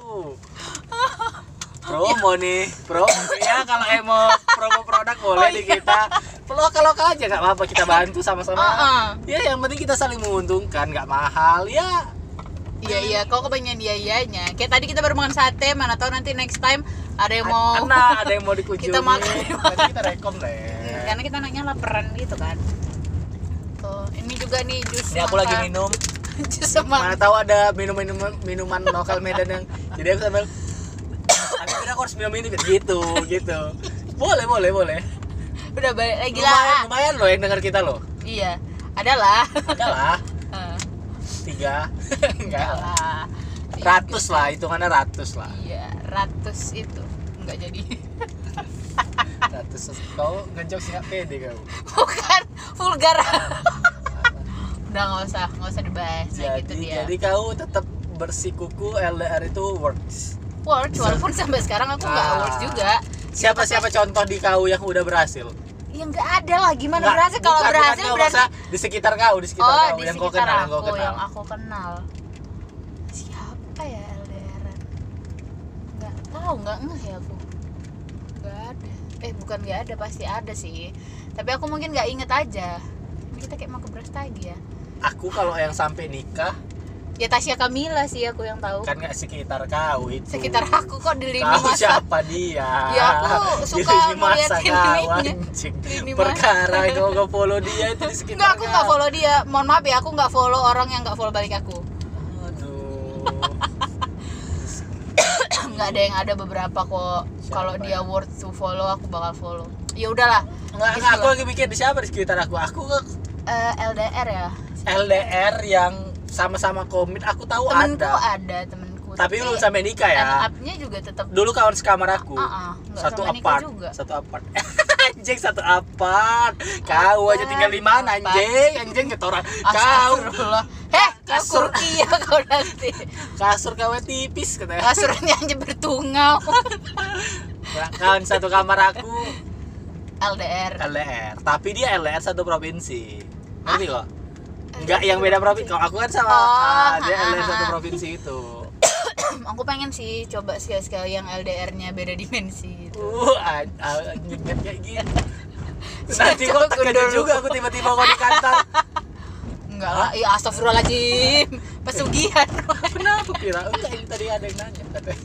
Speaker 1: Oh. promo
Speaker 2: Iya.
Speaker 1: nih pro ya kalau emang promo produk boleh
Speaker 2: Oh,
Speaker 1: di
Speaker 2: iya.
Speaker 1: kita kalau kalau aja nggak apa-apa kita bantu sama-sama
Speaker 2: Heeh.
Speaker 1: ya yang penting kita saling menguntungkan nggak mahal ya
Speaker 2: Iya iya, kok kebanyakan iya iyanya. Kayak tadi kita baru makan sate, mana tahu nanti next time ada yang mau
Speaker 1: Nah, ada yang mau dikunjungi
Speaker 2: Kita makan.
Speaker 1: Nanti kita rekom deh
Speaker 2: karena kita anaknya laparan gitu kan. Tuh, ini juga nih jus.
Speaker 1: ini aku lagi
Speaker 2: mangga.
Speaker 1: minum
Speaker 2: jus
Speaker 1: mana
Speaker 2: semangka.
Speaker 1: tahu ada minum minuman minuman lokal Medan yang jadi aku sambil tapi aku harus minum ini gitu gitu boleh boleh boleh
Speaker 2: Udah balik lagi
Speaker 1: lumayan
Speaker 2: lah.
Speaker 1: lumayan loh yang dengar kita loh
Speaker 2: Iya, adalah.
Speaker 1: enggak lah
Speaker 2: Eh,
Speaker 1: tiga enggak lah
Speaker 2: adalah.
Speaker 1: ratus lah hitungannya ratus lah
Speaker 2: Iya, ratus itu nggak jadi.
Speaker 1: ratus kau ngejok sih nggak pede kau
Speaker 2: Bukan vulgar. Udah nggak usah, nggak usah dibahas. Nah,
Speaker 1: jadi
Speaker 2: gitu dia.
Speaker 1: jadi kau tetap bersikuku LDR itu works
Speaker 2: Words, walaupun sampai sekarang aku nggak
Speaker 1: Ah.
Speaker 2: words juga.
Speaker 1: siapa siapa contoh di kau yang udah berhasil
Speaker 2: Ya nggak ada lah gimana
Speaker 1: Nggak,
Speaker 2: berhasil kalau
Speaker 1: bukan, bukan
Speaker 2: berhasil
Speaker 1: kau,
Speaker 2: berarti
Speaker 1: maksudnya di sekitar kau di sekitar
Speaker 2: oh
Speaker 1: kau
Speaker 2: di
Speaker 1: yang kau
Speaker 2: sekitar
Speaker 1: kenal yang
Speaker 2: aku
Speaker 1: kau kenal
Speaker 2: yang aku kenal siapa ya LDR nggak tahu nggak ngeh ya aku nggak ada eh bukan nggak ada pasti ada sih tapi aku mungkin nggak inget aja Ini kita kayak mau ke Brastagi ya
Speaker 1: aku kalau yang sampai nikah
Speaker 2: ya Tasya Kamila sih aku yang tahu
Speaker 1: kan nggak sekitar kau itu
Speaker 2: sekitar aku kok di lini
Speaker 1: Tahu
Speaker 2: masa
Speaker 1: siapa dia?
Speaker 2: Ya, aku
Speaker 1: Di
Speaker 2: suka
Speaker 1: lini masa
Speaker 2: ngeliatin
Speaker 1: kau,
Speaker 2: ininya.
Speaker 1: anjing.
Speaker 2: Lini masa.
Speaker 1: Perkara kau nggak follow dia itu di sekitar
Speaker 2: Enggak, aku nggak
Speaker 1: kau.
Speaker 2: follow dia. Mohon maaf ya, aku nggak follow orang yang nggak follow balik aku.
Speaker 1: Aduh.
Speaker 2: nggak ada yang ada beberapa kok.
Speaker 1: Siapa
Speaker 2: Kalau
Speaker 1: ya?
Speaker 2: dia worth to follow, aku bakal follow. Ya udahlah.
Speaker 1: Nggak,
Speaker 2: Gitu
Speaker 1: nggak, aku
Speaker 2: lah.
Speaker 1: lagi mikir di siapa di sekitar aku. Aku ke
Speaker 2: Eh, LDR ya.
Speaker 1: LDR yang sama-sama komit. Aku tahu
Speaker 2: temenku
Speaker 1: Oh, ada.
Speaker 2: ada temenku.
Speaker 1: Tapi belum sampai nikah ya.
Speaker 2: nya juga tetap.
Speaker 1: Dulu kawan sekamar aku.
Speaker 2: Ah, ah, nggak
Speaker 1: satu
Speaker 2: sampai nikah
Speaker 1: apart.
Speaker 2: juga.
Speaker 1: Satu apart. anjing satu apart. Kau aja tinggal di mana
Speaker 2: Apart.
Speaker 1: anjing? Anjing ketoran. Kau
Speaker 2: Astagfirullah. Heh, kau
Speaker 1: Kasur.
Speaker 2: kurki ya kau nanti.
Speaker 1: kasur kau tipis katanya.
Speaker 2: Kasurnya aja bertungau.
Speaker 1: Ya, kawan satu kamar aku
Speaker 2: LDR.
Speaker 1: LDR tapi dia LDR satu provinsi ngerti kok nggak yang beda provinsi kalau aku kan sama
Speaker 2: Ah. Oh,
Speaker 1: ah, dia
Speaker 2: ah,
Speaker 1: LDR
Speaker 2: ah,
Speaker 1: satu
Speaker 2: ah.
Speaker 1: provinsi itu
Speaker 2: aku pengen sih coba sekali-sekali yang LDR-nya beda dimensi gitu.
Speaker 1: uh an- an- nyengket kayak gitu nanti kok terkejut juga aku tiba-tiba kok di kantor
Speaker 2: Enggak lah, ya astagfirullahaladzim Pesugihan
Speaker 1: kenapa kira enggak ini tadi ada yang nanya katanya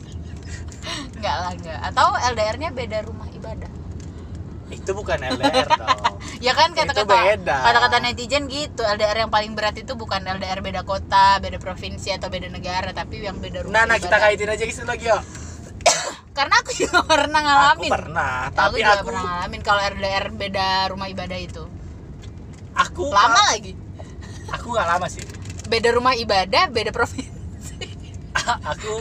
Speaker 2: Enggak lah, enggak Atau LDR-nya beda rumah ibadah
Speaker 1: itu bukan LDR dong
Speaker 2: Ya kan
Speaker 1: Itu
Speaker 2: kata-kata
Speaker 1: beda.
Speaker 2: Kata-kata netizen gitu LDR yang paling berat itu bukan LDR beda kota, beda provinsi, atau beda negara Tapi yang beda rumah
Speaker 1: nah nah kita
Speaker 2: ibadah.
Speaker 1: kaitin aja gitu lagi yuk
Speaker 2: Karena aku juga pernah
Speaker 1: aku
Speaker 2: ngalamin
Speaker 1: pernah
Speaker 2: Aku
Speaker 1: tapi
Speaker 2: juga
Speaker 1: aku
Speaker 2: pernah ngalamin kalau LDR beda rumah ibadah itu
Speaker 1: aku
Speaker 2: Lama lagi
Speaker 1: aku nggak lama sih
Speaker 2: Beda rumah ibadah, beda provinsi
Speaker 1: aku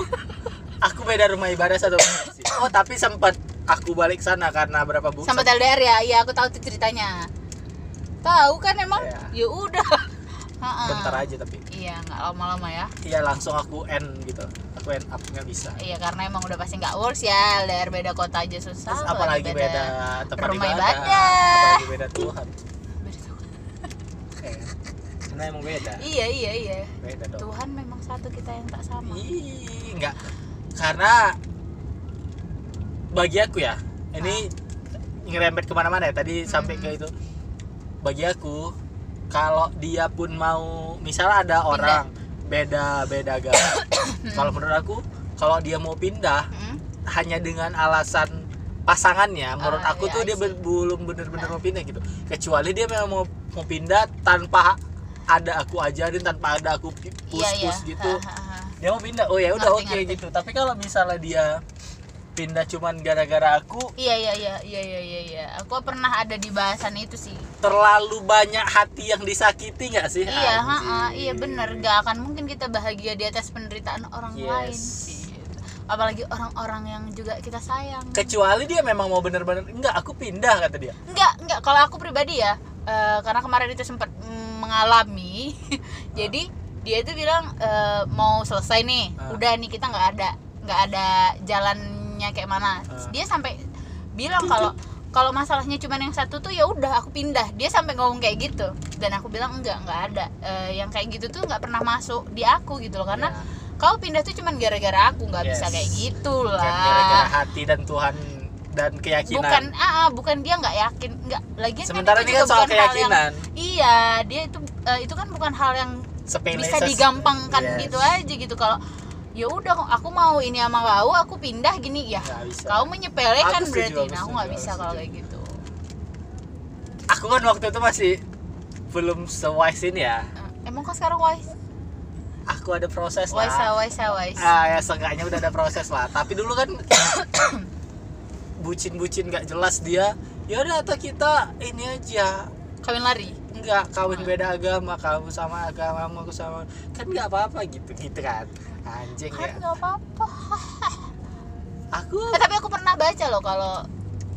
Speaker 1: aku beda rumah ibadah satu provinsi. Oh tapi sempat aku balik sana karena berapa bulan?
Speaker 2: Sampai LDR ya, iya aku tahu tuh ceritanya Tahu kan emang?
Speaker 1: Iya.
Speaker 2: Ya udah Ha-ha.
Speaker 1: bentar aja tapi.
Speaker 2: Iya, nggak lama-lama ya.
Speaker 1: Iya langsung aku end gitu. Aku end up nggak bisa.
Speaker 2: Iya, karena emang udah pasti nggak works ya. LDR beda kota aja susah.
Speaker 1: Terus apalagi beda, tempat
Speaker 2: rumah
Speaker 1: ibadah,
Speaker 2: ibadah.
Speaker 1: apalagi beda Tuhan.
Speaker 2: Beda kota.
Speaker 1: Kayak, Karena emang beda,
Speaker 2: Iya, iya, iya.
Speaker 1: beda dong.
Speaker 2: Tuhan memang satu kita yang tak sama.
Speaker 1: Iya. Ih, enggak. Karena bagi aku ya, ini ngerembet kemana-mana ya. Tadi sampai
Speaker 2: Mm.
Speaker 1: ke itu. Bagi aku, kalau dia pun mau, misalnya ada orang beda-beda agama. kalau menurut aku, kalau dia mau pindah
Speaker 2: Mm-mm.
Speaker 1: hanya dengan alasan pasangannya, menurut
Speaker 2: Ah,
Speaker 1: aku
Speaker 2: iya,
Speaker 1: tuh
Speaker 2: I
Speaker 1: dia
Speaker 2: see. Ah.
Speaker 1: belum bener-bener mau pindah gitu. Kecuali dia memang mau mau pindah tanpa ada aku ajarin, tanpa ada aku push-push
Speaker 2: Iya, iya.
Speaker 1: gitu
Speaker 2: Ha, ha, ha.
Speaker 1: dia mau pindah oh ya udah oke
Speaker 2: Ngerti, ngerti.
Speaker 1: gitu tapi kalau misalnya dia pindah cuman gara-gara aku
Speaker 2: Iya, iya, iya, iya, iya, iya, iya. Aku pernah ada di bahasan itu sih.
Speaker 1: terlalu banyak hati yang disakiti nggak sih
Speaker 2: Iya, ha,
Speaker 1: Anjing.
Speaker 2: ha, iya bener. Gak akan mungkin kita bahagia di atas penderitaan orang
Speaker 1: Yes.
Speaker 2: lain. Gitu. Apalagi orang-orang yang juga kita sayang.
Speaker 1: kecuali dia memang mau bener-bener enggak aku pindah kata dia
Speaker 2: Enggak, enggak. Kalau aku pribadi ya, eh, karena kemarin itu sempat mm, mengalami jadi dia itu bilang eh, mau selesai nih
Speaker 1: Ah.
Speaker 2: udah nih kita nggak ada nggak ada jalannya kayak mana
Speaker 1: Ah.
Speaker 2: dia sampai bilang kalau kalau masalahnya cuma yang satu tuh ya udah aku pindah dia sampai ngomong kayak gitu dan aku bilang enggak nggak ada Eh, yang kayak gitu tuh nggak pernah masuk di aku gitu loh karena
Speaker 1: Ya.
Speaker 2: kau pindah tuh cuman gara-gara aku nggak bisa
Speaker 1: Yes.
Speaker 2: kayak gitu lah
Speaker 1: Bukan gara-gara hati dan Tuhan dan keyakinan.
Speaker 2: bukan ah ah, bukan dia nggak yakin nggak lagi
Speaker 1: Sementara ini kan soal keyakinan.
Speaker 2: iya dia itu eh, itu kan bukan hal yang
Speaker 1: Sepele
Speaker 2: bisa
Speaker 1: ses-
Speaker 2: digampangkan
Speaker 1: Yes.
Speaker 2: gitu aja gitu kalau ya udah aku mau ini sama kau aku pindah gini ya
Speaker 1: Nggak bisa.
Speaker 2: kau
Speaker 1: Iya.
Speaker 2: menyepelekan
Speaker 1: Aku setuju,
Speaker 2: berarti
Speaker 1: aku
Speaker 2: nah aku
Speaker 1: setuju,
Speaker 2: nggak
Speaker 1: aku
Speaker 2: bisa kalau
Speaker 1: setuju.
Speaker 2: kayak gitu
Speaker 1: Aku kan waktu itu masih belum sewise ini ya.
Speaker 2: Eh, emang kau sekarang wise
Speaker 1: Aku ada proses lah.
Speaker 2: wise wise wise
Speaker 1: Ah ya seenggaknya udah ada proses lah. Tapi dulu kan bucin-bucin gak jelas dia. Ya udah atau kita ini aja
Speaker 2: kawin lari
Speaker 1: nggak kawin
Speaker 2: Ah.
Speaker 1: beda agama kamu sama agamamu aku sama kan nggak apa-apa gitu gitu kan anjing
Speaker 2: kan
Speaker 1: ya
Speaker 2: nggak apa-apa
Speaker 1: aku
Speaker 2: Eh, tapi aku pernah baca loh kalau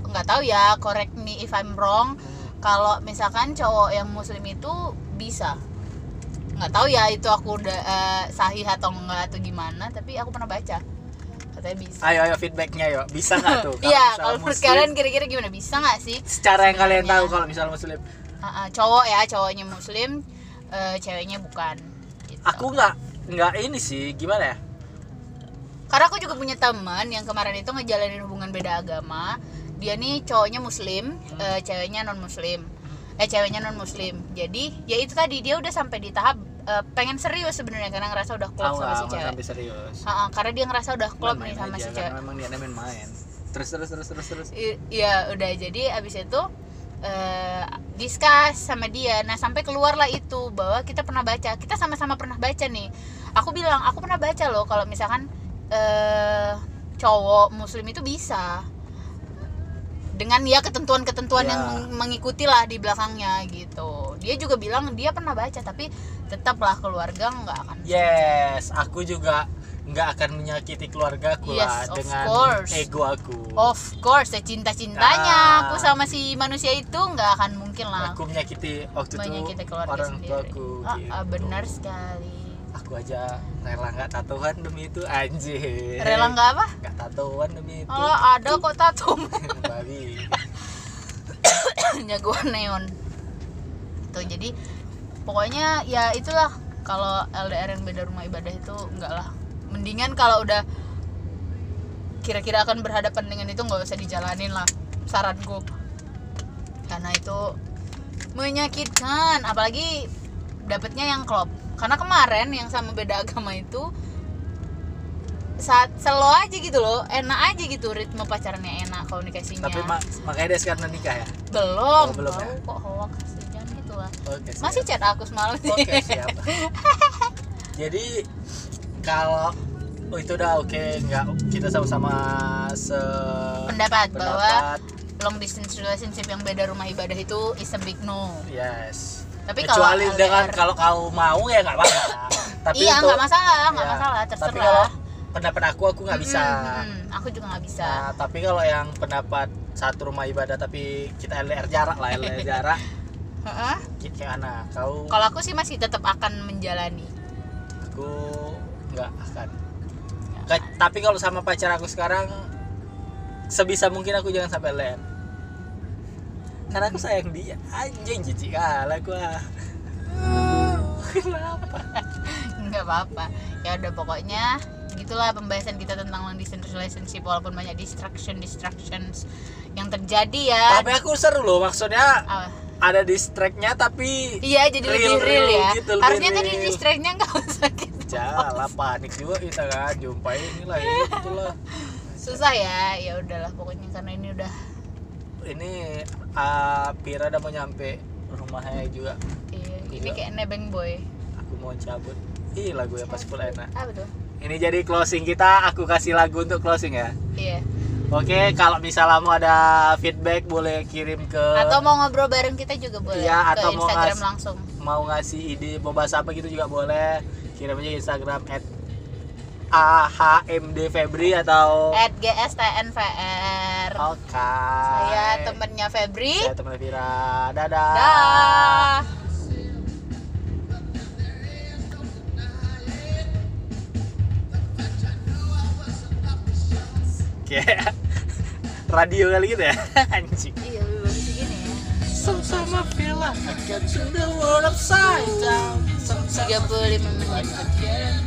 Speaker 2: nggak tahu ya correct me if I'm wrong kalau misalkan cowok yang muslim itu bisa nggak tahu ya itu aku udah eh, sahih atau enggak atau gimana tapi aku pernah baca katanya bisa
Speaker 1: ayo ayo feedbacknya yuk bisa nggak tuh misalnya
Speaker 2: iya kalau Iya. menurut
Speaker 1: muslim,
Speaker 2: kalian kira-kira gimana bisa nggak sih
Speaker 1: secara yang kalian
Speaker 2: sebenarnya?
Speaker 1: tahu kalau misalnya muslim
Speaker 2: Ah, ah, cowok ya cowoknya muslim eh, ceweknya bukan gitu.
Speaker 1: aku nggak nggak ini sih gimana ya
Speaker 2: karena aku juga punya teman yang kemarin itu ngejalanin hubungan beda agama dia nih cowoknya muslim
Speaker 1: Hmm.
Speaker 2: eh, ceweknya non muslim eh ceweknya non muslim jadi ya itu tadi dia udah sampai di tahap eh, pengen serius sebenarnya karena ngerasa udah
Speaker 1: tahu
Speaker 2: klop sama si
Speaker 1: nggak nggak
Speaker 2: cewek
Speaker 1: sampai serius
Speaker 2: Ha-ha, karena dia ngerasa udah klop nih
Speaker 1: Main-main
Speaker 2: sama
Speaker 1: aja, kan.
Speaker 2: si
Speaker 1: karena
Speaker 2: cewek
Speaker 1: memang niatnya main-main terus terus terus terus terus
Speaker 2: I- Iya udah jadi abis itu eh discuss sama dia nah sampai keluarlah itu bahwa kita pernah baca kita sama-sama pernah baca nih aku bilang aku pernah baca loh kalau misalkan eh cowok muslim itu bisa dengan ya ketentuan-ketentuan
Speaker 1: Ya.
Speaker 2: yang meng- mengikuti lah di belakangnya gitu dia juga bilang dia pernah baca tapi tetaplah keluarga nggak akan
Speaker 1: yes aku juga nggak akan menyakiti keluargaku
Speaker 2: Yes,
Speaker 1: lah
Speaker 2: of
Speaker 1: dengan
Speaker 2: course. Oh,
Speaker 1: ego aku
Speaker 2: Of course, cinta
Speaker 1: Ah.
Speaker 2: cintanya aku sama si manusia itu nggak akan mungkin lah.
Speaker 1: aku menyakiti waktu
Speaker 2: banyak
Speaker 1: itu
Speaker 2: kita keluarga
Speaker 1: orang
Speaker 2: sendiri.
Speaker 1: tuaku
Speaker 2: Ah,
Speaker 1: gitu.
Speaker 2: ah, benar sekali.
Speaker 1: aku aja rela nggak tatoan demi itu anjir
Speaker 2: Rela nggak apa?
Speaker 1: nggak tatoan demi itu
Speaker 2: Oh, ada kok tato
Speaker 1: babi
Speaker 2: jagoan neon. Tuh jadi pokoknya ya itulah kalau LDR yang beda rumah ibadah itu enggak lah. Mendingan kalau udah kira-kira akan berhadapan dengan itu nggak usah dijalanin lah saranku. Karena itu menyakitkan apalagi dapatnya yang klop karena kemarin yang sama beda agama itu saat selo aja gitu loh enak aja gitu ritme pacarnya enak komunikasinya
Speaker 1: tapi mak makanya dia sekarang nikah ya
Speaker 2: belum
Speaker 1: Oh, belum
Speaker 2: Tahu
Speaker 1: ya?
Speaker 2: kok hoax jangan gitu lah
Speaker 1: oke siap.
Speaker 2: masih chat aku semalam sih
Speaker 1: oke siap jadi kalau oh, itu udah oke nggak kita sama-sama se
Speaker 2: pendapat bahwa
Speaker 1: pendapat.
Speaker 2: long distance relationship yang beda rumah ibadah itu is a big no
Speaker 1: yes
Speaker 2: Tapi kalau
Speaker 1: kecuali
Speaker 2: LDR
Speaker 1: dengan kalau kau mau ya nggak apa-apa tapi
Speaker 2: iya
Speaker 1: untuk
Speaker 2: nggak masalah nggak
Speaker 1: ya,
Speaker 2: masalah
Speaker 1: tapi kalau
Speaker 2: terserah
Speaker 1: pendapat aku aku nggak bisa
Speaker 2: Mm, mm, aku juga nggak bisa
Speaker 1: Nah, tapi kalau yang pendapat satu rumah ibadah tapi kita LDR jarak lah LDR jarak
Speaker 2: Heeh.
Speaker 1: ki- kayak anak kau
Speaker 2: kalau aku sih masih tetap akan menjalani
Speaker 1: aku nggak akan
Speaker 2: Ya.
Speaker 1: Ke- tapi kalau sama pacar aku sekarang sebisa mungkin aku jangan sampai LDR karena aku sayang dia anjing jijik kalah gua kenapa
Speaker 2: nggak apa-apa ya udah pokoknya gitulah pembahasan kita tentang long distance relationship walaupun banyak distraction distractions yang terjadi ya
Speaker 1: tapi aku seru loh maksudnya
Speaker 2: Ah,
Speaker 1: ada distracknya tapi
Speaker 2: iya jadi
Speaker 1: Real,
Speaker 2: lebih real,
Speaker 1: real
Speaker 2: ya
Speaker 1: gitu, lebih
Speaker 2: harusnya tadi
Speaker 1: real.
Speaker 2: distractnya nggak usah gitu
Speaker 1: jalan panik juga kita kan jumpa inilah itulah
Speaker 2: susah ya ya udahlah pokoknya karena ini udah
Speaker 1: ini ah, Pira udah mau nyampe rumahnya juga
Speaker 2: iya, ini
Speaker 1: Iya.
Speaker 2: kayak nebeng boy
Speaker 1: aku mau cabut ih lagu ya pas pula enak
Speaker 2: apa tuh
Speaker 1: ini jadi closing kita aku kasih lagu untuk closing ya
Speaker 2: iya
Speaker 1: oke kalau misalnya mau ada feedback boleh kirim ke
Speaker 2: atau mau ngobrol bareng kita juga boleh
Speaker 1: Iya, atau
Speaker 2: ke
Speaker 1: mau
Speaker 2: Instagram
Speaker 1: ngas-
Speaker 2: langsung
Speaker 1: mau ngasih ide mau bahas apa gitu juga boleh kirim aja Instagram at AHMD Febri atau
Speaker 2: at GSTNVR
Speaker 1: Oke.
Speaker 2: saya Iya, temennya Febri
Speaker 1: Saya teman Vira. Dadah.
Speaker 2: dah
Speaker 1: Kayak radio kali gitu ya. Anjing.
Speaker 2: iya lebih bagus gini ya
Speaker 1: Sama-sama Vira. I got you the world upside down. Sama-sama.
Speaker 2: 35 menit